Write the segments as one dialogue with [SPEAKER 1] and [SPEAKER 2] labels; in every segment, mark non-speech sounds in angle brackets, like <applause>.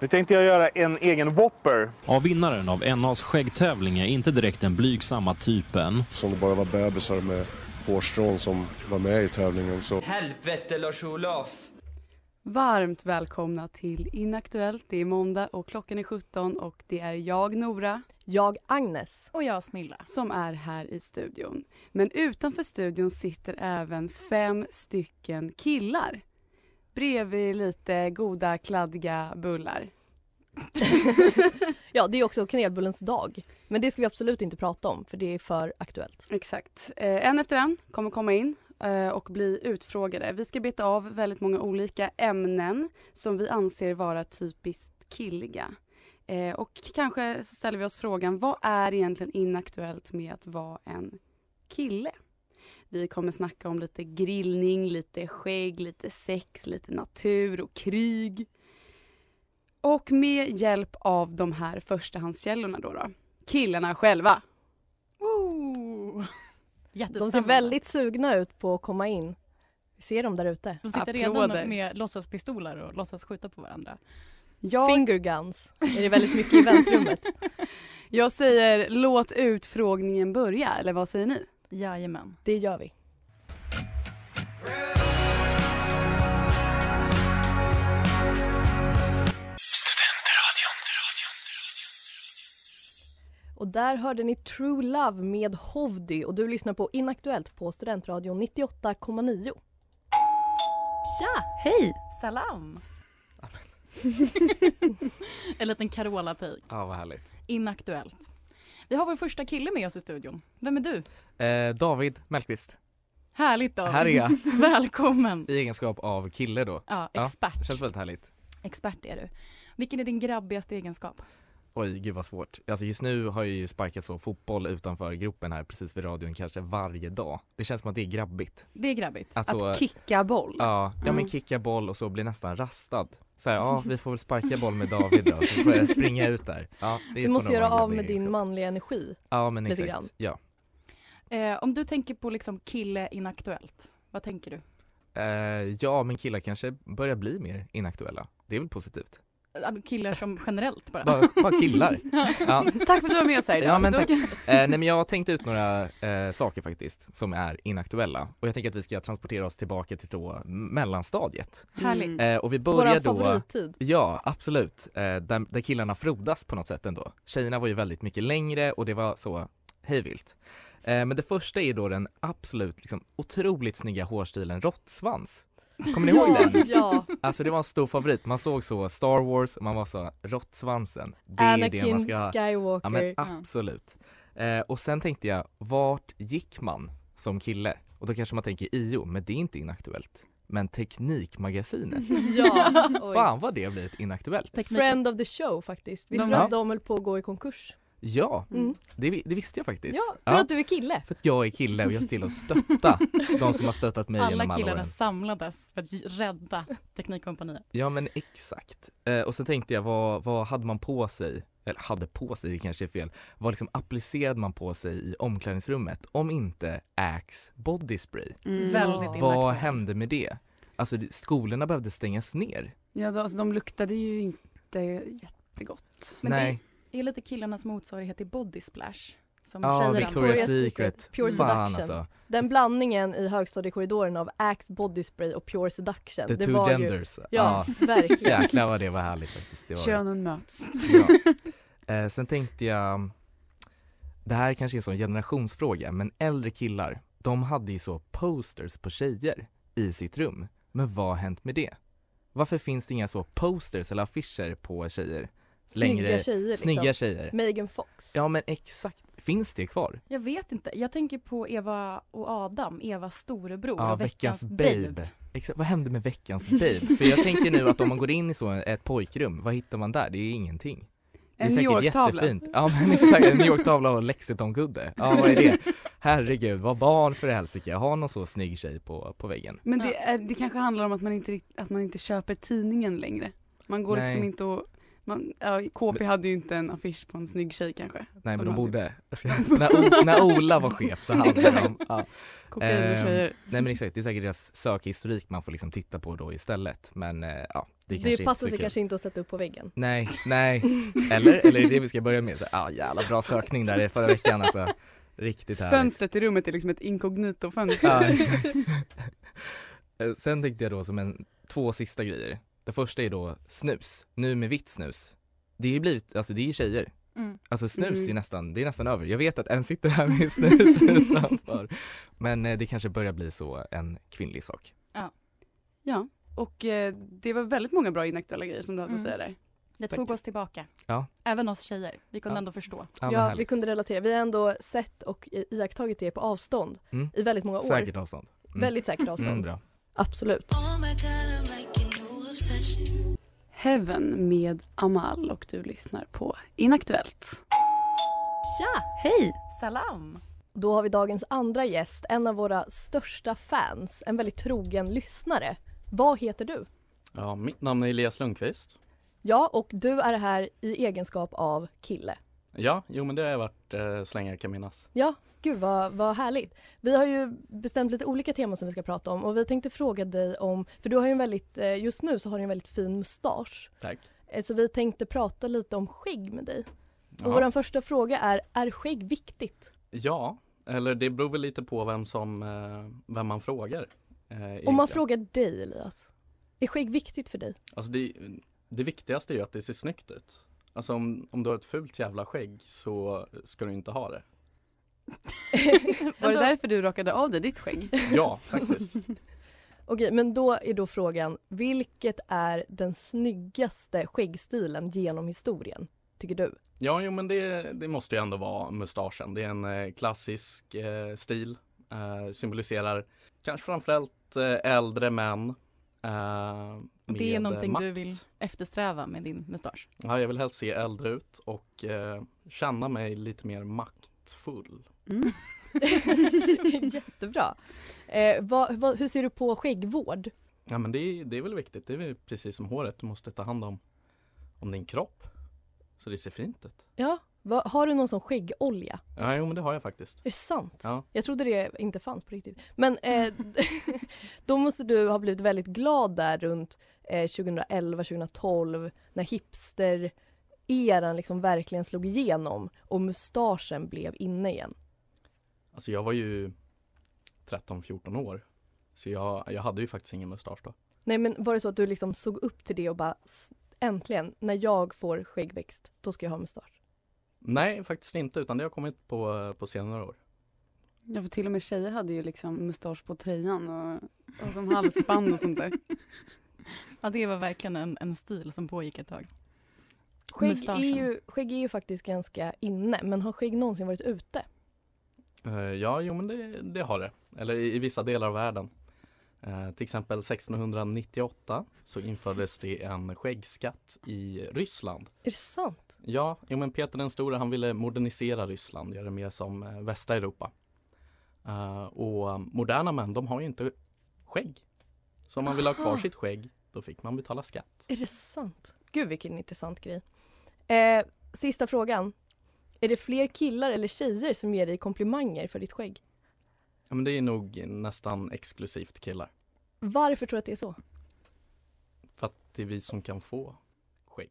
[SPEAKER 1] Nu tänkte jag göra en egen Whopper.
[SPEAKER 2] Ja, vinnaren av NAs skäggtävling är inte direkt den blygsamma typen.
[SPEAKER 3] som det bara var bebisar med hårstrån som var med i tävlingen. Så
[SPEAKER 4] Helvete Lars-Olof!
[SPEAKER 5] Varmt välkomna till Inaktuellt. Det är måndag och klockan är 17 och det är jag, Nora,
[SPEAKER 6] Jag Agnes.
[SPEAKER 7] Och jag Smilla.
[SPEAKER 5] som är här i studion. Men utanför studion sitter även fem stycken killar bredvid lite goda, kladdiga bullar.
[SPEAKER 6] Ja, det är ju också kanelbullens dag. Men det ska vi absolut inte prata om för det är för aktuellt.
[SPEAKER 5] Exakt. Eh, en efter en kommer komma in eh, och bli utfrågade. Vi ska beta av väldigt många olika ämnen som vi anser vara typiskt killiga. Eh, och kanske så ställer vi oss frågan, vad är egentligen inaktuellt med att vara en kille? Vi kommer snacka om lite grillning, lite skägg, lite sex, lite natur och krig. Och med hjälp av de här förstahandskällorna då, då killarna själva. Woo! <laughs>
[SPEAKER 6] De ser väldigt sugna ut på att komma in. Vi ser dem där ute.
[SPEAKER 8] De sitter
[SPEAKER 5] Applåder.
[SPEAKER 8] redan med låtsaspistoler och låtsas skjuta på varandra.
[SPEAKER 5] Jag,
[SPEAKER 6] Finger guns är det väldigt mycket i väntrummet.
[SPEAKER 5] jag säger låt utfrågningen börja, eller vad säger ni?
[SPEAKER 8] Jajamän.
[SPEAKER 6] Det gör vi. Och där hörde ni True Love med Hovdy och du lyssnar på Inaktuellt på Studentradion 98,9. Tja!
[SPEAKER 7] Hej!
[SPEAKER 8] Salam! <laughs> en liten Carola-take.
[SPEAKER 4] Ja, vad härligt.
[SPEAKER 8] Inaktuellt. Vi har vår första kille med oss i studion. Vem är du?
[SPEAKER 4] Eh, David Mellqvist.
[SPEAKER 8] Härligt
[SPEAKER 5] <laughs>
[SPEAKER 8] då.
[SPEAKER 4] Här är jag,
[SPEAKER 8] Välkommen.
[SPEAKER 4] i egenskap av kille då.
[SPEAKER 8] Ja,
[SPEAKER 4] Ja,
[SPEAKER 8] expert.
[SPEAKER 4] Det känns väldigt härligt.
[SPEAKER 8] Expert är du. Vilken är din grabbigaste egenskap?
[SPEAKER 4] Oj, gud vad svårt. Alltså just nu har jag ju sparkat så fotboll utanför gruppen här precis vid radion kanske varje dag. Det känns som att det är grabbigt.
[SPEAKER 8] Det är grabbigt.
[SPEAKER 4] Att, så,
[SPEAKER 5] Att kicka boll.
[SPEAKER 4] ja, ja
[SPEAKER 5] Mm.
[SPEAKER 4] men kicka boll och så bli nästan rastad. Så här, ja vi får väl sparka boll med David då, så får jag springa ut där. Ja, det
[SPEAKER 6] Du
[SPEAKER 4] får
[SPEAKER 6] måste
[SPEAKER 4] nog
[SPEAKER 6] göra
[SPEAKER 4] vara en
[SPEAKER 6] av med
[SPEAKER 4] grabbig
[SPEAKER 6] din
[SPEAKER 4] egenskap.
[SPEAKER 6] manliga energi.
[SPEAKER 4] Ja men
[SPEAKER 6] lite
[SPEAKER 4] exakt,
[SPEAKER 6] grann.
[SPEAKER 4] ja.
[SPEAKER 8] Eh, om du tänker på liksom kille inaktuellt, vad tänker du?
[SPEAKER 4] Eh, ja men killar kanske börjar bli mer inaktuella. Det är väl
[SPEAKER 6] <laughs>
[SPEAKER 4] positivt?
[SPEAKER 8] Eh, Killar som generellt bara.
[SPEAKER 4] Bara, bara killar. Ja.
[SPEAKER 5] <laughs> Tack för att du var med oss här idag.
[SPEAKER 4] Ja, men
[SPEAKER 5] Då <laughs>
[SPEAKER 4] tack.
[SPEAKER 5] kan-
[SPEAKER 4] Eh, nej men jag har tänkt ut några eh, saker faktiskt som är inaktuella och jag tänker att vi ska transportera oss tillbaka till då mellanstadiet.
[SPEAKER 8] Härligt.
[SPEAKER 5] Mm.
[SPEAKER 4] Eh, och vi börjar
[SPEAKER 6] Vår
[SPEAKER 4] då
[SPEAKER 6] favorittid.
[SPEAKER 4] Ja, absolut. Eh, där, där killarna frodas på något sätt ändå. Tjejerna var ju väldigt mycket längre och det var så hejvilt. Eh, men det första är då den absolut liksom, otroligt snygga hårstilen råttsvans. Kommer ni
[SPEAKER 5] <laughs>
[SPEAKER 4] ihåg den?
[SPEAKER 6] Ja,
[SPEAKER 4] Alltså det var en stor favorit. Man såg så Star Wars och man var så råttsvansen. Det är det man
[SPEAKER 6] Anakin
[SPEAKER 4] ska ha. Ja
[SPEAKER 6] Skywalker.
[SPEAKER 4] men absolut. Eh, och sen tänkte jag, vart gick man som kille? Och då kanske man tänker IO, men det är inte inaktuellt. Men Teknikmagasinet,
[SPEAKER 6] Mm. Ja,
[SPEAKER 4] <laughs>
[SPEAKER 6] oj.
[SPEAKER 4] fan vad det har blivit inaktuellt.
[SPEAKER 6] Friend of the show faktiskt. Visste
[SPEAKER 8] De-
[SPEAKER 6] du
[SPEAKER 4] Ja.
[SPEAKER 6] att de höll på att gå i konkurs?
[SPEAKER 4] Ja,
[SPEAKER 6] Mm.
[SPEAKER 4] det, vi- det visste jag faktiskt.
[SPEAKER 6] Ja, för att du är kille.
[SPEAKER 4] för att jag är kille och jag ser till att
[SPEAKER 6] <laughs>
[SPEAKER 4] stötta de som har stöttat mig genom
[SPEAKER 8] Alla
[SPEAKER 4] alla åren.
[SPEAKER 8] killarna samlades för att j- rädda Teknikkompaniet.
[SPEAKER 4] Ja men exakt. Eh, och så tänkte jag, vad, vad hade man på sig? Eller hade på sig, det kanske är fel. Vad liksom applicerade man på sig i omklädningsrummet om inte Axe Body Spray?
[SPEAKER 5] Mm.
[SPEAKER 8] <laughs> Väldigt
[SPEAKER 4] Vad
[SPEAKER 8] inaktuellt.
[SPEAKER 4] hände med det? Alltså det- skolorna behövde stängas ner.
[SPEAKER 5] Ja, då, alltså, de luktade ju inte jättegott.
[SPEAKER 8] Men
[SPEAKER 4] Nej,
[SPEAKER 8] Det är lite killarnas motsvarighet till body splash. som
[SPEAKER 4] Ja,
[SPEAKER 8] tjejer
[SPEAKER 4] Victoria's
[SPEAKER 8] använder.
[SPEAKER 4] Secret.
[SPEAKER 6] Pure
[SPEAKER 4] Fan,
[SPEAKER 6] Seduction.
[SPEAKER 4] alltså.
[SPEAKER 6] Den blandningen i högstadiekorridoren av Axe Body Spray och Pure Seduction.
[SPEAKER 4] The
[SPEAKER 6] det
[SPEAKER 4] two
[SPEAKER 6] var
[SPEAKER 4] genders.
[SPEAKER 6] Ju, ja, <laughs> verkligen.
[SPEAKER 4] Jäklar vad det var härligt faktiskt. Det var det.
[SPEAKER 5] Könen möts.
[SPEAKER 4] Ja. Eh, sen tänkte jag, det här kanske är en sån generationsfråga, men äldre killar, de hade ju så posters på tjejer i sitt rum. Men vad har hänt med det? Varför finns det inga så posters eller affischer på tjejer?
[SPEAKER 6] Snygga tjejer liksom.
[SPEAKER 4] Snygga tjejer.
[SPEAKER 6] Megan Fox.
[SPEAKER 4] Ja men exakt, finns det kvar?
[SPEAKER 8] Jag vet inte. Jag tänker på Eva och Adam, Evas storebror
[SPEAKER 4] Ja,
[SPEAKER 8] och
[SPEAKER 4] veckans babe. Exakt, vad hände med veckans babe? För jag tänker nu att om man går in i så ett pojkrum, vad hittar man där? Det är ingenting. Det
[SPEAKER 5] <laughs>
[SPEAKER 4] är
[SPEAKER 5] En
[SPEAKER 4] säkert
[SPEAKER 5] New York-tavla.
[SPEAKER 4] jättefint. Ja men exakt, en New York-tavla och Lexitongudde. Ja vad är det? Herregud, vad barn för helsike, ha någon så snygg tjej på, på väggen.
[SPEAKER 5] Men det, är, det kanske handlar om att man inte, rikt- att man inte köper tidningen längre. Man går
[SPEAKER 4] Nej.
[SPEAKER 5] liksom inte och... Man, ja, KP hade ju inte en affisch på en snygg tjej kanske.
[SPEAKER 4] Nej men de
[SPEAKER 5] hade-
[SPEAKER 4] borde. Jag ska- när, O- när Ola var chef så hade de.
[SPEAKER 5] Exakt.
[SPEAKER 4] Ja.
[SPEAKER 5] Kokain och
[SPEAKER 4] Ehm,
[SPEAKER 5] tjejer.
[SPEAKER 4] Nej men exakt, det är säkert deras sökhistorik man får liksom titta på då istället. Men eh, ja, det
[SPEAKER 6] Det,
[SPEAKER 4] är kanske inte
[SPEAKER 6] passar
[SPEAKER 4] så
[SPEAKER 6] sig
[SPEAKER 4] kul.
[SPEAKER 6] kanske inte att sätta upp på väggen.
[SPEAKER 4] Nej, nej. Eller, eller är det det vi ska börja med? Så, ah, jävla bra sökning där i förra veckan alltså. Riktigt härligt.
[SPEAKER 5] Fönstret i rummet är liksom ett inkognito
[SPEAKER 4] Ja.
[SPEAKER 5] fönster.
[SPEAKER 4] <laughs> Eh, Sen tänkte jag då som en, två sista grejer. Det första är då snus, nu med vitt snus. Det är ju blivit, alltså det är ju tjejer.
[SPEAKER 8] Mm.
[SPEAKER 4] Alltså snus är
[SPEAKER 8] Mm.
[SPEAKER 4] nästan, det är nästan över. Jag vet att en sitter här med
[SPEAKER 6] <laughs>
[SPEAKER 4] snus utanför. Men eh, det kanske börjar bli så en kvinnlig sak.
[SPEAKER 5] <laughs> ja, och eh, det var väldigt många bra inaktuella grejer som du hade att
[SPEAKER 8] Mm.
[SPEAKER 5] säga där.
[SPEAKER 8] Det tog oss tillbaka.
[SPEAKER 4] Ja.
[SPEAKER 8] Även oss tjejer. Vi kunde
[SPEAKER 4] Ja.
[SPEAKER 8] ändå förstå.
[SPEAKER 4] Ja,
[SPEAKER 6] Ja,
[SPEAKER 4] men härligt.
[SPEAKER 6] vi kunde relatera. Vi har ändå sett och i- iakttagit er på avstånd
[SPEAKER 4] Mm.
[SPEAKER 6] i väldigt många år.
[SPEAKER 4] Säkert avstånd. Mm.
[SPEAKER 6] Väldigt säkert avstånd.
[SPEAKER 4] Mm, bra.
[SPEAKER 6] Absolut.
[SPEAKER 5] Heaven med Amal och du lyssnar på Inaktuellt.
[SPEAKER 6] Tja!
[SPEAKER 5] Hej!
[SPEAKER 8] Salam!
[SPEAKER 6] Då har vi dagens andra gäst, en av våra största fans, en väldigt trogen lyssnare. Vad heter du?
[SPEAKER 9] Ja, mitt namn är Elias Lundqvist.
[SPEAKER 6] Ja, och du är här i egenskap av kille.
[SPEAKER 9] Ja, jo men det har jag varit eh, så länge jag kan minnas.
[SPEAKER 6] Ja, gud vad, vad härligt. Vi har ju bestämt lite olika teman som vi ska prata om och vi tänkte fråga dig om, för du har ju en väldigt, eh, just nu så har du en väldigt fin mustasch.
[SPEAKER 9] Tack.
[SPEAKER 6] Eh, Så vi tänkte prata lite om skägg med dig.
[SPEAKER 9] Ja.
[SPEAKER 6] Och vår första fråga är, är skägg viktigt?
[SPEAKER 9] Ja, eller det beror väl lite på vem som, eh, vem man frågar. eh,
[SPEAKER 6] Om man
[SPEAKER 9] egentligen.
[SPEAKER 6] frågar dig Elias, är skägg viktigt för dig?
[SPEAKER 9] Alltså det, det viktigaste är ju att det ser snyggt ut. Alltså om, om du har ett fult jävla skägg så ska du
[SPEAKER 6] <laughs>
[SPEAKER 9] inte ha det.
[SPEAKER 5] Var det därför du rakade av dig ditt skägg?
[SPEAKER 9] Ja, faktiskt.
[SPEAKER 6] Okej, men då är då frågan, vilket är den snyggaste skäggstilen genom historien, tycker du?
[SPEAKER 9] Ja, jo men det, det måste ju ändå vara mustaschen. Det är en eh, klassisk eh, stil. Eh, symboliserar kanske framförallt eh, äldre män. Eh,
[SPEAKER 8] Det är
[SPEAKER 9] med,
[SPEAKER 8] någonting
[SPEAKER 9] eh,
[SPEAKER 8] du vill <laughs> eftersträva med din mustasch.
[SPEAKER 9] Ja, jag vill helst se äldre ut och eh, känna mig lite mer maktfull.
[SPEAKER 6] <laughs> Jättebra. Eh, vad, vad, hur ser du på skäggvård?
[SPEAKER 9] Ja, men det, är- det är väl viktigt. Det är väl precis som håret. Du måste ta hand om, om din kropp så det ser fint ut.
[SPEAKER 6] Ja, vad, har du någon sån skäggolja?
[SPEAKER 9] Ja, jo, men det har jag faktiskt.
[SPEAKER 6] Är det sant?
[SPEAKER 9] Ja.
[SPEAKER 6] Jag trodde det inte fanns på riktigt. Men eh, <laughs> då måste du ha blivit väldigt glad där runt eh, 2011, 2012 när hipster-eran liksom verkligen slog igenom och mustaschen blev inne igen.
[SPEAKER 9] Alltså, jag var ju 13-14 år. Så jag, jag hade ju faktiskt ingen mustasch då.
[SPEAKER 6] Nej men var det så att du liksom såg upp till det och bara "S- äntligen, när jag får skäggväxt, då ska jag ha mustasch.
[SPEAKER 9] Nej, faktiskt inte. Utan det har kommit på, på senare år.
[SPEAKER 5] Ja, för till och med tjejer hade ju liksom mustasch på tröjan och, och som halsband och <laughs> sånt där.
[SPEAKER 8] Ja, det var verkligen en, en stil som pågick ett tag.
[SPEAKER 6] Skägg är,
[SPEAKER 8] Mustaschen.
[SPEAKER 6] ju, skägg är ju faktiskt ganska inne, men har skägg någonsin varit ute?
[SPEAKER 9] Eh, ja, jo, men det, det har det. Eller i, i vissa delar av världen. Eh, till exempel 1698 så infördes det en skäggskatt i Ryssland.
[SPEAKER 6] Är det sant?
[SPEAKER 9] Ja, jo, men Peter den store han ville modernisera Ryssland, göra det mer som eh, västra Europa. Eh, och eh, moderna män, de har ju inte skägg. Så om man vill ha kvar
[SPEAKER 6] Aha.
[SPEAKER 9] sitt skägg, då fick man betala skatt.
[SPEAKER 6] Är det sant? Gud vilken intressant grej. Eh, sista frågan. Är det fler killar eller tjejer som ger dig komplimanger för ditt skägg?
[SPEAKER 9] Ja, men det är nog nästan exklusivt killar,
[SPEAKER 6] Varför tror du att det är <laughs> så?
[SPEAKER 9] för att det är vi som kan få skägg.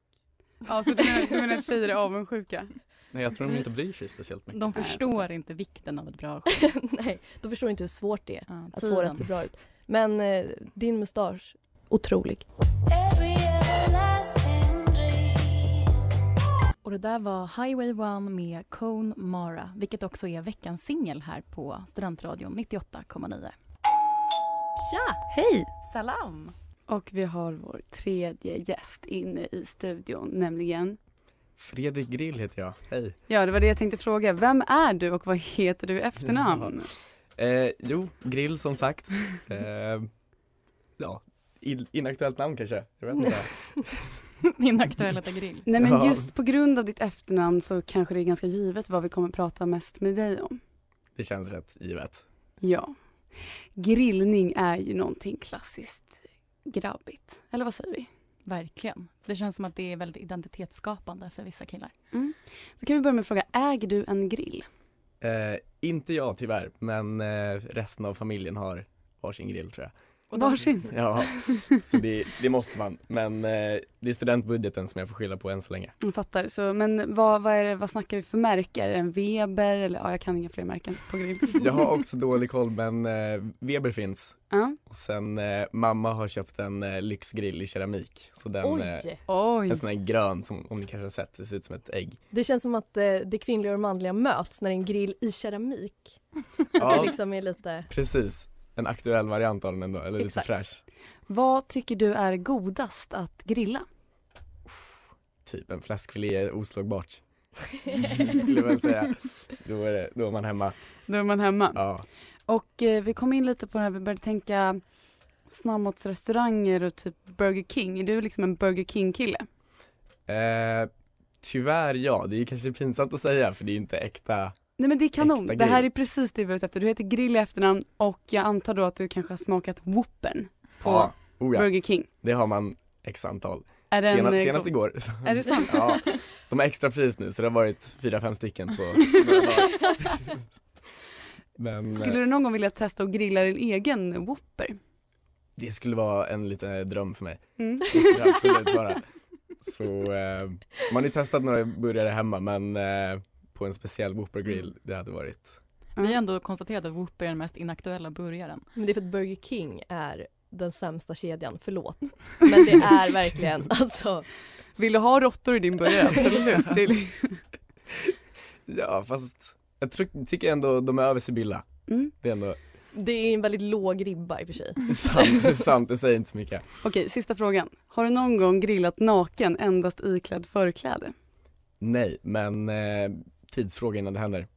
[SPEAKER 5] Ja, så du menar, du menar att tjejer är avundsjuka?
[SPEAKER 10] Nej, jag tror de inte bryr sig speciellt mycket.
[SPEAKER 8] De förstår inte vikten av ett bra skägg.
[SPEAKER 6] Nej, de förstår inte hur svårt det är att få
[SPEAKER 8] tiden.
[SPEAKER 6] det att se bra ut. Men eh, din mustasch, otrolig.
[SPEAKER 8] Och det där var Highway 1 med Cone Mara, vilket också är veckans singel här på Studentradion 98,9.
[SPEAKER 5] Tja!
[SPEAKER 8] Hej!
[SPEAKER 5] Salam! Och vi har vår tredje gäst inne i studion, nämligen...
[SPEAKER 10] Fredrik Grill heter jag. Hej.
[SPEAKER 5] Ja, det var det jag tänkte fråga. Vem är du och vad heter du i efternamn?
[SPEAKER 4] Eh, jo, grill som
[SPEAKER 6] <laughs>
[SPEAKER 4] sagt. Eh, ja, in, inaktuellt namn kanske. Jag vet
[SPEAKER 6] <laughs>
[SPEAKER 4] inte.
[SPEAKER 8] <laughs> Min aktuella grill.
[SPEAKER 5] Nej, men
[SPEAKER 4] Ja.
[SPEAKER 5] just på grund av ditt efternamn så kanske det är ganska givet vad vi kommer prata mest med dig om.
[SPEAKER 4] Det känns rätt givet.
[SPEAKER 5] Ja. Grillning är ju någonting klassiskt grabbigt. Eller vad säger vi?
[SPEAKER 8] Verkligen. Det känns som att det är väldigt identitetsskapande för vissa killar.
[SPEAKER 5] Då kan vi börja med att fråga, äger du en grill?
[SPEAKER 4] Eh, inte jag tyvärr, men eh, resten av familjen har varsin grill tror jag.
[SPEAKER 5] Och de- Varsin? <laughs>
[SPEAKER 4] Ja, så det, det måste man. Men eh, det är studentbudgeten som jag får skylla på än så länge.
[SPEAKER 5] Jag fattar. Så, men vad, vad, är det, vad snackar vi för märker? En Weber? Eller, ja, jag kan inga fler märken på
[SPEAKER 4] <laughs>
[SPEAKER 5] grill.
[SPEAKER 4] Jag har också dålig koll men eh, Weber finns.
[SPEAKER 5] Ja.
[SPEAKER 4] Och sen eh, mamma har köpt en
[SPEAKER 5] <laughs>
[SPEAKER 4] eh, lyxgrill i keramik. Så den,
[SPEAKER 6] Oj.
[SPEAKER 4] eh,
[SPEAKER 5] Oj.
[SPEAKER 4] En sån här grön som om ni kanske har sett, det ser ut som ett ägg.
[SPEAKER 6] Det känns som att eh, det kvinnliga och manliga möts när det är en grill i keramik. Att det liksom är lite...
[SPEAKER 4] Precis, en aktuell variant av den ändå, eller lite
[SPEAKER 6] Exakt.
[SPEAKER 4] fräsch.
[SPEAKER 5] Vad tycker du är godast att grilla?
[SPEAKER 4] Typ en fläskfilé är
[SPEAKER 6] <laughs>
[SPEAKER 4] oslagbart. <laughs> Skulle jag väl säga. Då är, det, då är man hemma.
[SPEAKER 5] Då är man hemma.
[SPEAKER 4] Ja.
[SPEAKER 5] Och eh, vi kom in lite på det här, vi började tänka snabbmatsrestauranger och typ Burger King. Är du liksom en Burger King-kille?
[SPEAKER 4] Eh, tyvärr ja, det är kanske pinsamt att säga för det är inte äkta.
[SPEAKER 5] Nej men det är kanon.
[SPEAKER 4] Äkta
[SPEAKER 5] Det här
[SPEAKER 4] grill.
[SPEAKER 5] är precis det vi var ute efter. Du heter Grill i efternamn och jag antar då att du kanske har smakat Whoopern på
[SPEAKER 4] Oh ja.
[SPEAKER 5] Burger King.
[SPEAKER 4] Det har man x antal.
[SPEAKER 5] Är den,
[SPEAKER 4] Sena,
[SPEAKER 5] eh,
[SPEAKER 4] senast
[SPEAKER 5] god?
[SPEAKER 4] igår.
[SPEAKER 5] Är det sant? <laughs>
[SPEAKER 4] ja, de har extra pris nu så det har varit fyra, fem stycken på
[SPEAKER 5] <laughs>
[SPEAKER 4] några dagar. Men
[SPEAKER 5] Skulle du
[SPEAKER 4] eh,
[SPEAKER 5] någon gång vilja testa att grilla din egen Whopper?
[SPEAKER 4] det skulle vara en liten eh, dröm för mig.
[SPEAKER 5] <laughs> Mm.
[SPEAKER 4] Det skulle det absolut vara. Så eh, man har ju testat några burgare hemma men eh, på en speciell Whopper
[SPEAKER 6] Mm.
[SPEAKER 4] grill, det hade varit
[SPEAKER 8] Vi har ändå konstaterat att Whooper är den mest inaktuella burgaren.
[SPEAKER 6] Men det är för att Burger King är den sämsta kedjan, förlåt. Men det är verkligen, alltså.
[SPEAKER 5] Vill du ha råttor i din <laughs> burgare? Absolut. Det är li-
[SPEAKER 4] Ja fast jag tryck, tycker ändå de är över Sibylla.
[SPEAKER 5] Mm.
[SPEAKER 4] Det är ändå
[SPEAKER 6] Det är en väldigt låg ribba i och för sig.
[SPEAKER 4] sant, det är sant, det säger inte så mycket.
[SPEAKER 5] Okej, sista frågan. Har du någon gång grillat naken endast iklädd förkläde?
[SPEAKER 4] Nej men eh, tidsfråga innan det händer.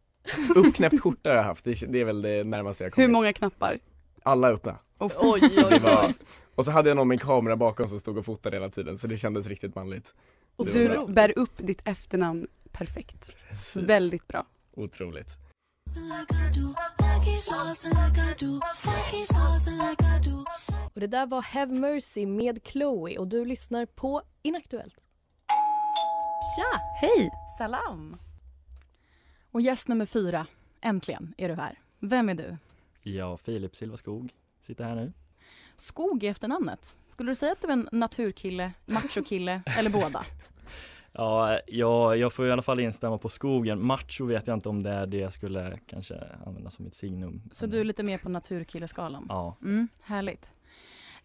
[SPEAKER 4] Uppknäppt skjorta har jag haft, det, är- det är väl det närmaste jag
[SPEAKER 5] Hur
[SPEAKER 4] kommit.
[SPEAKER 5] många knappar?
[SPEAKER 4] Alla öppna.
[SPEAKER 5] Oj,
[SPEAKER 4] Så det var- Och så hade jag någon med en kamera bakom som stod och fotade hela tiden så det kändes riktigt manligt.
[SPEAKER 5] Och
[SPEAKER 4] Det
[SPEAKER 5] du
[SPEAKER 4] var bra.
[SPEAKER 5] bär upp ditt efternamn perfekt.
[SPEAKER 4] Precis.
[SPEAKER 5] Väldigt bra.
[SPEAKER 4] Otroligt.
[SPEAKER 6] Och det där var Have Mercy med Chloe och du lyssnar på Inaktuellt.
[SPEAKER 8] Tja! Hej! Salam! Och gäst nummer fyra, äntligen är du här. Vem är du?
[SPEAKER 9] Ja, Filip Silverskog sitter här nu.
[SPEAKER 8] Skog i efternamnet. Skulle du säga att du är en naturkille, <laughs> machokille eller båda?
[SPEAKER 9] Ja, jag, jag får i alla fall instämma på skogen. Macho vet jag inte om det är det jag skulle kanske använda som mitt signum.
[SPEAKER 8] Så du är lite mer på naturkilleskalan?
[SPEAKER 9] Ja.
[SPEAKER 8] Mm, härligt.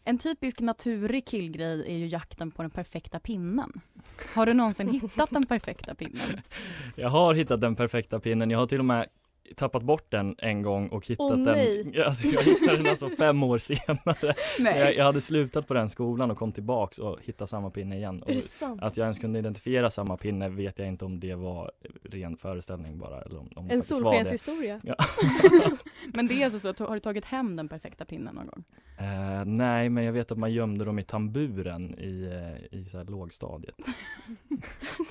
[SPEAKER 8] En typisk naturig killgrej är ju jakten på den perfekta pinnen. Har du någonsin hittat den perfekta pinnen?
[SPEAKER 9] Jag har hittat den perfekta pinnen. Jag har till och med tappat bort den en gång och hittat
[SPEAKER 8] Åh,
[SPEAKER 9] den.
[SPEAKER 8] nej.
[SPEAKER 9] <laughs> Alltså, jag hittade den alltså fem år senare.
[SPEAKER 8] Nej.
[SPEAKER 9] Jag, jag hade slutat på den skolan och kom tillbaks och hittade samma pinne igen.
[SPEAKER 6] Är det
[SPEAKER 9] Och
[SPEAKER 6] sant?
[SPEAKER 9] Att jag ens kunde identifiera samma pinne vet jag inte om det var ren föreställning bara. Eller om, om det
[SPEAKER 8] En
[SPEAKER 9] faktiskt var det.
[SPEAKER 8] solskenshistoria.
[SPEAKER 9] Ja.
[SPEAKER 8] Men det är alltså så, att har du tagit hem den perfekta pinnen någon gång?
[SPEAKER 9] Eh, nej, men jag vet att man gömde dem i tamburen i, eh, i så här lågstadiet.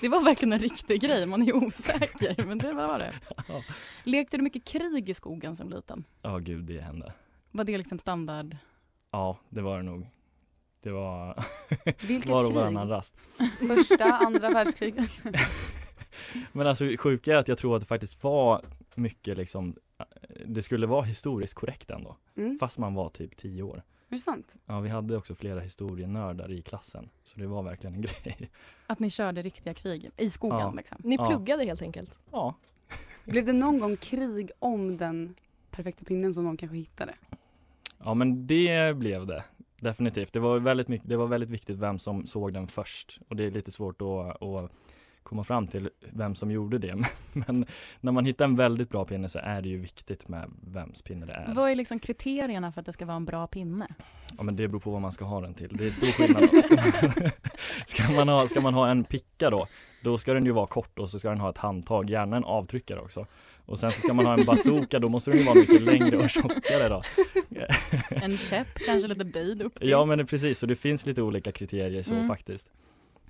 [SPEAKER 8] Det var verkligen en riktig grej, man är ju osäker, men det var <laughs> det.
[SPEAKER 9] Ja.
[SPEAKER 8] Lekte du mycket krig i skogen som liten?
[SPEAKER 9] Ja, gud, det hände.
[SPEAKER 8] Var det liksom standard?
[SPEAKER 9] Ja, det var det nog. Det var
[SPEAKER 5] Vilket
[SPEAKER 9] var och
[SPEAKER 5] krig?
[SPEAKER 9] varannan rast.
[SPEAKER 11] <laughs>
[SPEAKER 5] Första, andra världskriget.
[SPEAKER 9] Men alltså det sjuka är att jag tror att det faktiskt var mycket liksom, eh, det skulle vara historiskt korrekt ändå.
[SPEAKER 5] Mm.
[SPEAKER 9] Fast man var typ tio år.
[SPEAKER 5] Är det sant?
[SPEAKER 11] Ja, vi hade också flera historienördar i klassen, så det var verkligen en <laughs> grej.
[SPEAKER 8] Att ni körde riktiga krig i skogen
[SPEAKER 11] Ja.
[SPEAKER 8] liksom?
[SPEAKER 6] Ni
[SPEAKER 11] Ja.
[SPEAKER 6] pluggade helt enkelt?
[SPEAKER 11] Ja.
[SPEAKER 5] Blev det någon gång krig om den perfekta pinnen som någon kanske hittade?
[SPEAKER 11] Ja, men det blev det. Definitivt. Det var väldigt, mycket, det var väldigt viktigt vem som såg den först och det är lite svårt att, att komma fram till vem som gjorde det. <laughs> Men när man hittar en väldigt bra pinne så är det ju viktigt med vems pinne det är.
[SPEAKER 8] Vad är liksom kriterierna för att det ska vara en bra pinne?
[SPEAKER 11] Ja men det beror på vad man ska ha den till. Det är stor skillnad. Ska man- ska, man ha, <laughs> ska man ha en picka då, då ska den ju vara kort och så ska den ha ett handtag, gärna en avtryckare också. Och sen så ska man ha en bazooka, då måste den ju vara mycket längre och tjockare då. <laughs>
[SPEAKER 8] En käpp, kanske lite böjd upp till.
[SPEAKER 11] Ja men precis, så det finns lite olika kriterier så
[SPEAKER 8] Mm.
[SPEAKER 11] faktiskt.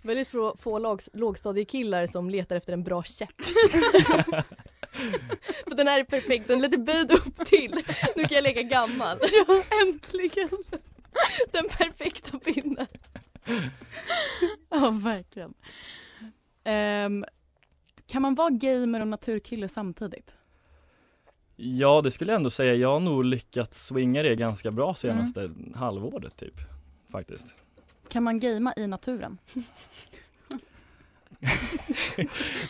[SPEAKER 6] Väldigt få, få låg, lågstadiekillar som letar efter en bra <laughs> käpp. För den här är perfekt, den är lite böjd upp till. Nu kan jag leka gammal. <laughs> Ja, äntligen. Den perfekta pinnen.
[SPEAKER 8] Ja, verkligen. Ehm, kan man vara gamer och naturkille samtidigt?
[SPEAKER 11] Ja det skulle jag ändå säga, jag har nog lyckats swinga det ganska bra senaste halvåret typ. Faktiskt.
[SPEAKER 8] Kan man gamea i naturen?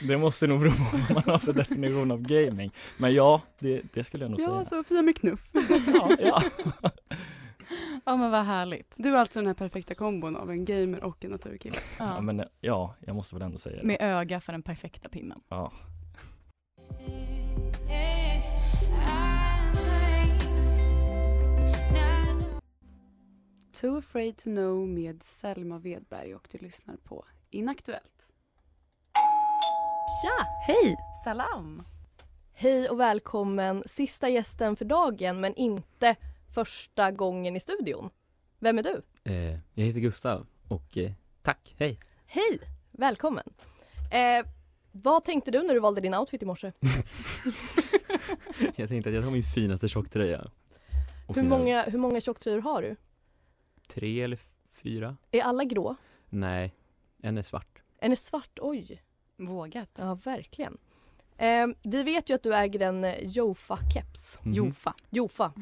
[SPEAKER 11] Det måste nog bero på vad man har för definition av gaming. Men ja, det, det skulle jag nog säga.
[SPEAKER 5] Ja, Sofia med knuff.
[SPEAKER 11] <laughs> Ja, ja.
[SPEAKER 5] ja,
[SPEAKER 8] men vad härligt.
[SPEAKER 5] Du är alltså den här perfekta kombon av en gamer och en naturkille.
[SPEAKER 11] Ja, men ja, jag måste väl ändå säga det.
[SPEAKER 8] Med öga för den perfekta pinnen.
[SPEAKER 11] Ja.
[SPEAKER 5] Too afraid to know med Selma Wedberg och du lyssnar på Inaktuellt.
[SPEAKER 6] Tja!
[SPEAKER 8] Hej! Salam!
[SPEAKER 6] Hej och välkommen, sista gästen för dagen men inte första gången i studion. Vem är du?
[SPEAKER 9] Eh, jag heter Gustav och eh, tack, hej!
[SPEAKER 6] Hej! Välkommen! Eh, vad tänkte du när du valde din outfit i morse?
[SPEAKER 9] <laughs> Jag tänkte att jag tar min finaste tjocktröja. Och
[SPEAKER 6] Hur
[SPEAKER 9] mina
[SPEAKER 6] många, hur många tjocktröjor har du?
[SPEAKER 9] Tre eller fyra?
[SPEAKER 6] Är alla grå?
[SPEAKER 9] Nej, en är svart.
[SPEAKER 6] En är svart, oj.
[SPEAKER 8] Vågat.
[SPEAKER 6] Ja, verkligen. Eh, vi vet ju att du äger en eh, Jofa-keps.
[SPEAKER 9] Mhm. Jofa.
[SPEAKER 6] Jofa.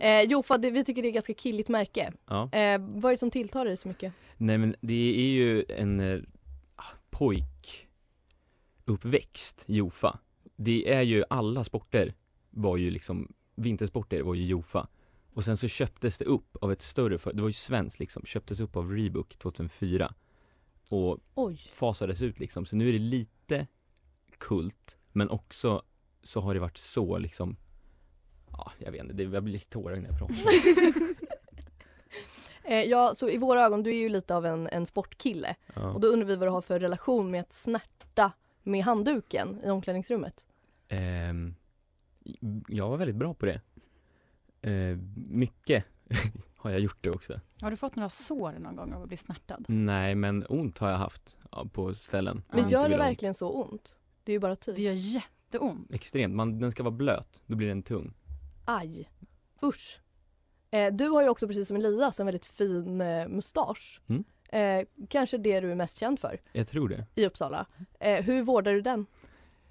[SPEAKER 6] Eh, Jofa, det, vi tycker det är ett ganska killigt märke.
[SPEAKER 9] Ja.
[SPEAKER 6] Eh, vad är det som tilltar dig så mycket?
[SPEAKER 9] Nej men det är ju en eh, ah, pojkuppväxt, Jofa. Det är ju alla sporter var ju liksom, vintersporter var ju Jofa. Och sen så köptes det upp av ett större företag, det var ju svenskt liksom, köptes upp av Reebok 2004. Och
[SPEAKER 6] Oj.
[SPEAKER 9] fasades ut liksom, så nu är det lite kult, men också så har det varit så liksom, ja jag vet inte, det, jag blir lite tårögd när jag pratar.
[SPEAKER 6] <laughs> Eh, ja, så i våra ögon, du är ju lite av en, en sportkille.
[SPEAKER 9] <laughs> Ja.
[SPEAKER 6] Och då undrar vi vad du har för relation med att snärta med handduken i omklädningsrummet.
[SPEAKER 9] Ehm, jag var väldigt bra på det. Ehm, mycket <laughs> har jag gjort det också.
[SPEAKER 8] Har du fått några sår någon gång av att bli snärtad?
[SPEAKER 9] Nej, men ont har jag haft ja, på ställen. som
[SPEAKER 6] Men
[SPEAKER 9] inte
[SPEAKER 6] gör
[SPEAKER 9] vill
[SPEAKER 6] det
[SPEAKER 9] ha ont.
[SPEAKER 6] verkligen så ont? Det är ju bara typ. tyg. Det
[SPEAKER 8] gör jätteont.
[SPEAKER 9] Extremt. Man, den ska vara blöt, då blir den tung.
[SPEAKER 6] Aj. Usch. Eh, du har ju också precis som Elias en väldigt fin eh, mustasch.
[SPEAKER 9] Mm.
[SPEAKER 6] Eh, kanske det du är mest känd för
[SPEAKER 9] Jag tror det.
[SPEAKER 6] i Uppsala. Eh, hur vårdar du den?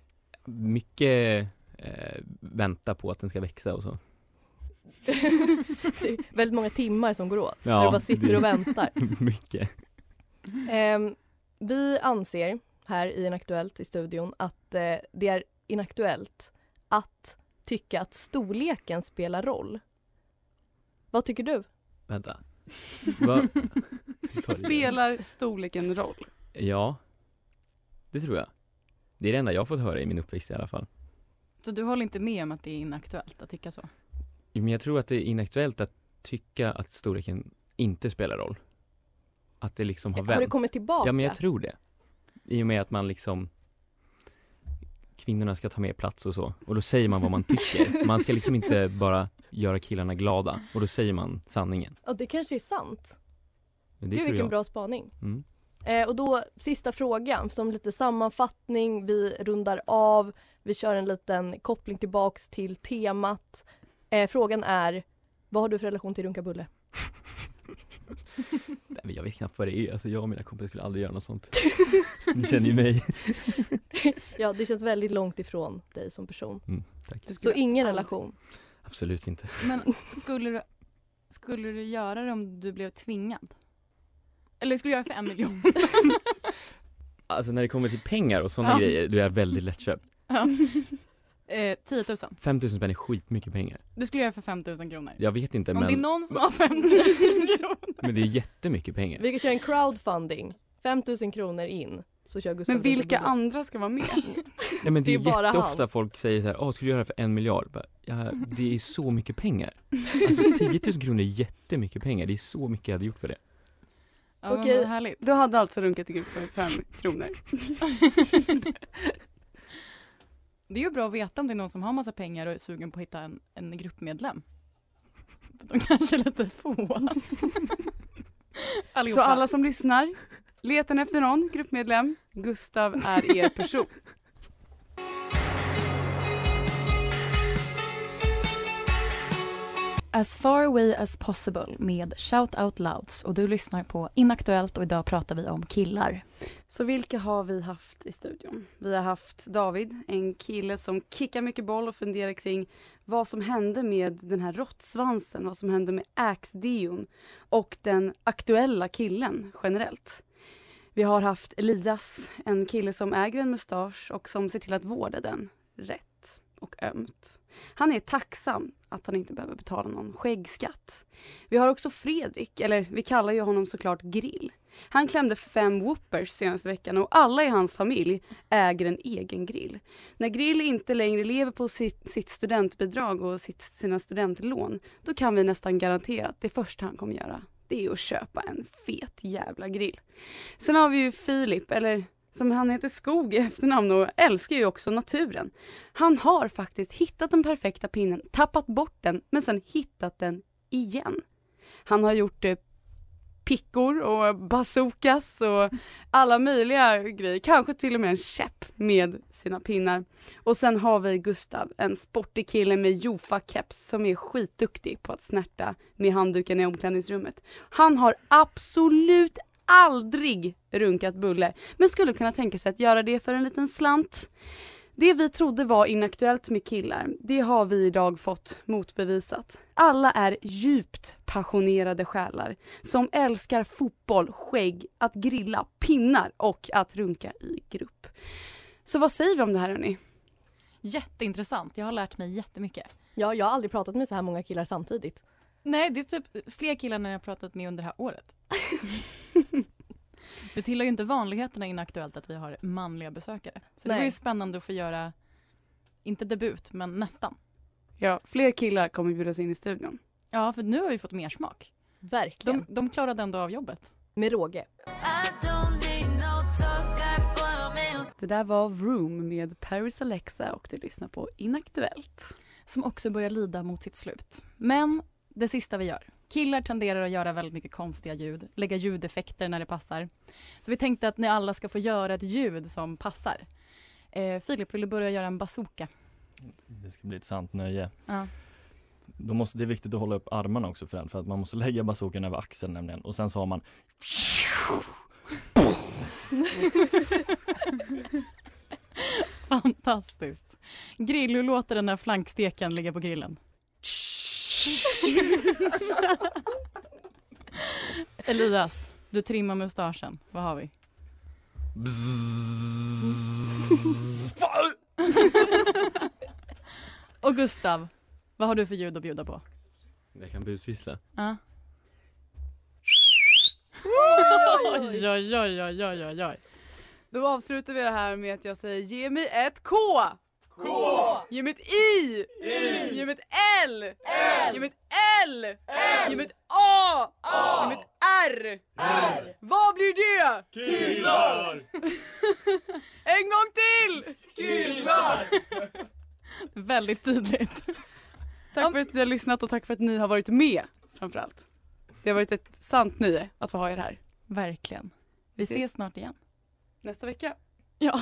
[SPEAKER 6] <laughs>
[SPEAKER 9] Mycket eh, vänta på att den ska växa och så.
[SPEAKER 6] Det är väldigt många timmar som går åt.
[SPEAKER 9] Ja,
[SPEAKER 6] när du bara sitter
[SPEAKER 9] det-
[SPEAKER 6] och väntar.
[SPEAKER 9] <laughs> mycket.
[SPEAKER 6] Ehm, vi anser här i Inaktuellt i studion att eh, det är inaktuellt att tycka att storleken spelar roll. Vad tycker du?
[SPEAKER 9] Vänta. Va? Ta det igen.
[SPEAKER 5] Spelar storleken roll?
[SPEAKER 9] Ja, det tror jag. Det är det enda jag har fått höra i min uppväxt i alla fall.
[SPEAKER 8] Så du håller inte med om att det är inaktuellt att tycka så?
[SPEAKER 9] Jo, Men jag tror att det är inaktuellt att tycka att storleken inte spelar roll. Att det liksom har vänt.
[SPEAKER 6] Har det kommit tillbaka?
[SPEAKER 9] Ja men jag tror det. I och med att man liksom kvinnorna ska ta mer plats och så. Och då säger man vad man
[SPEAKER 6] <laughs>
[SPEAKER 9] tycker. Man ska liksom inte bara göra killarna glada. Och då säger man sanningen.
[SPEAKER 6] Ja, det kanske är sant.
[SPEAKER 9] Men Det
[SPEAKER 6] Gud
[SPEAKER 9] tror
[SPEAKER 6] vilken
[SPEAKER 9] jag.
[SPEAKER 6] bra spaning.
[SPEAKER 9] Mm.
[SPEAKER 6] Eh, och då sista frågan som lite sammanfattning, vi rundar av, vi kör en liten koppling tillbaks till temat. Eh, frågan är, vad har du för relation till runkabulle?
[SPEAKER 9] <laughs> Nej, men jag vet knappt vad det är. Alltså jag och mina kompisar skulle aldrig göra något
[SPEAKER 6] <laughs>
[SPEAKER 9] sånt. Ni känner ju mig.
[SPEAKER 6] ja, det känns väldigt långt ifrån dig som person.
[SPEAKER 9] Mm, tack.
[SPEAKER 6] Så ingen relation.
[SPEAKER 9] Absolut inte.
[SPEAKER 8] Men skulle du Skulle du göra det om du blev tvingad? Eller skulle du göra det för en <laughs> miljon?
[SPEAKER 12] Alltså när det kommer till pengar och sådana
[SPEAKER 8] Ja.
[SPEAKER 12] grejer, då är jag väldigt lättköpt.
[SPEAKER 8] Ja. eh, 10 000.
[SPEAKER 12] 5000 spänn är skitmycket pengar.
[SPEAKER 8] Du skulle göra det för 5 000 kronor.
[SPEAKER 12] Jag vet inte
[SPEAKER 8] Om
[SPEAKER 12] men,
[SPEAKER 8] det är någon som har 5 000 <laughs> kronor.
[SPEAKER 12] men det är jättemycket pengar.
[SPEAKER 6] Vi kan köra en crowdfunding. 5 000 kronor in. Så kör Gustav
[SPEAKER 13] Men vilka
[SPEAKER 6] Fridolin.
[SPEAKER 13] andra ska vara med?
[SPEAKER 8] <laughs>
[SPEAKER 12] Nej, men det är,
[SPEAKER 6] det är bara
[SPEAKER 12] jätteofta
[SPEAKER 6] han.
[SPEAKER 12] folk säger så här, åh skulle du göra det för en miljard? Bara, ja, det är så mycket pengar. Alltså 10 000 kronor är jättemycket pengar, det är så mycket jag hade gjort för det.
[SPEAKER 8] Ja, men
[SPEAKER 13] Okej,
[SPEAKER 8] vad härligt.
[SPEAKER 13] du hade alltså runkat i grupp för fem kronor.
[SPEAKER 8] Det är ju bra att veta om det är någon som har massa pengar och är sugen på att hitta en, en gruppmedlem. De kanske är lite <laughs> få.
[SPEAKER 13] Så
[SPEAKER 8] Allihopa.
[SPEAKER 13] alla som lyssnar, letar efter någon gruppmedlem, Gustav är er person.
[SPEAKER 8] As far away as possible med Shout Out Louds och du lyssnar på Inaktuellt och idag pratar vi om killar.
[SPEAKER 5] Så vilka har vi haft i studion? Vi har haft David, en kille som kickar mycket boll och funderar kring vad som hände med den här råttsvansen, vad som hände med Axe-deon och den aktuella killen generellt. Vi har haft Elias, en kille som äger en mustasch och som ser till att vårda den rätt och ömt. Han är tacksam att han inte behöver betala någon skäggskatt. Vi har också Fredrik, eller vi kallar ju honom såklart Grill. Han klämde fem whoopers senaste veckan och alla i hans familj äger en egen grill. När Grill inte längre lever på sitt, sitt studentbidrag och sitt, sina studentlån då kan vi nästan garantera att det första han kommer göra det är att köpa en fet jävla grill. Sen har vi ju Filip, eller som han heter Skog i efternamn och älskar ju också naturen. Han har faktiskt hittat den perfekta pinnen, tappat bort den men sen hittat den igen. Han har gjort eh, pickor och bazookas och alla möjliga grejer. Kanske till och med en käpp med sina pinnar. Och sen har vi Gustav, en sportig kille med Jofa-keps som är skitduktig på att snärta med handduken i omklädningsrummet. Han har absolut aldrig runkat bulle, men skulle kunna tänka sig att göra det för en liten slant. Det vi trodde var inaktuellt med killar, det har vi idag fått motbevisat. Alla är djupt passionerade själar som älskar fotboll, skägg, att grilla, pinnar och att runka i grupp. Så vad säger vi om det här hörni?
[SPEAKER 8] Jätteintressant, jag har lärt mig jättemycket.
[SPEAKER 6] Ja, jag har aldrig pratat med så här många killar samtidigt.
[SPEAKER 8] Nej, det är typ fler killar än jag har pratat med under det här <laughs> året. det tillhör ju inte vanligheterna i Inaktuellt att vi har manliga besökare. Så det var
[SPEAKER 13] Nej.
[SPEAKER 8] ju spännande att få göra, inte debut, men nästan.
[SPEAKER 13] Ja, fler killar kommer bjudas in i studion.
[SPEAKER 8] Ja, för nu har vi fått mer smak.
[SPEAKER 6] Verkligen.
[SPEAKER 8] De, de klarade ändå av jobbet.
[SPEAKER 6] Med råge.
[SPEAKER 13] Det där var Room med Paris Alexa och du lyssnar på
[SPEAKER 8] Inaktuellt. Som också börjar lida mot sitt slut. Men det sista vi gör. Killar tenderar att göra väldigt mycket konstiga ljud, lägga ljudeffekter när det passar. Så vi tänkte att ni alla ska få göra ett ljud som passar. Eh, Filip, vill du börja göra en bazooka?
[SPEAKER 9] Det ska bli ett sant nöje.
[SPEAKER 8] Ja.
[SPEAKER 9] Då måste, det är viktigt att hålla upp armarna också för den, för att man måste lägga bazookan över axeln nämligen och sen så har man
[SPEAKER 8] Fantastiskt. Grill, hur låter den här flanksteken ligga på <laughs> grillen? Elias, du trimmar mustaschen. Vad har vi? <laughs> Och Gustav, vad har du för ljud att bjuda på?
[SPEAKER 12] Jag kan busvissla.
[SPEAKER 8] Ja. Oj, oj, oj, oj, oj, oj, oj.
[SPEAKER 13] Då avslutar vi det här med att jag säger ge mig ett K! K! Ge mig ett I! I! Ge mig ett L! L! Ge mig ett L! L! Ge mig ett A! A! Ge mig ett R! R! Vad blir det?
[SPEAKER 14] Killar!
[SPEAKER 13] <laughs> en gång till!
[SPEAKER 14] Killar!
[SPEAKER 13] <laughs> Väldigt tydligt. Tack för att ni har lyssnat och tack för att ni har varit med framförallt. Det har varit ett sant nöje att få ha er här.
[SPEAKER 8] Verkligen. Vi ses snart igen.
[SPEAKER 13] Nästa vecka.
[SPEAKER 8] Ja.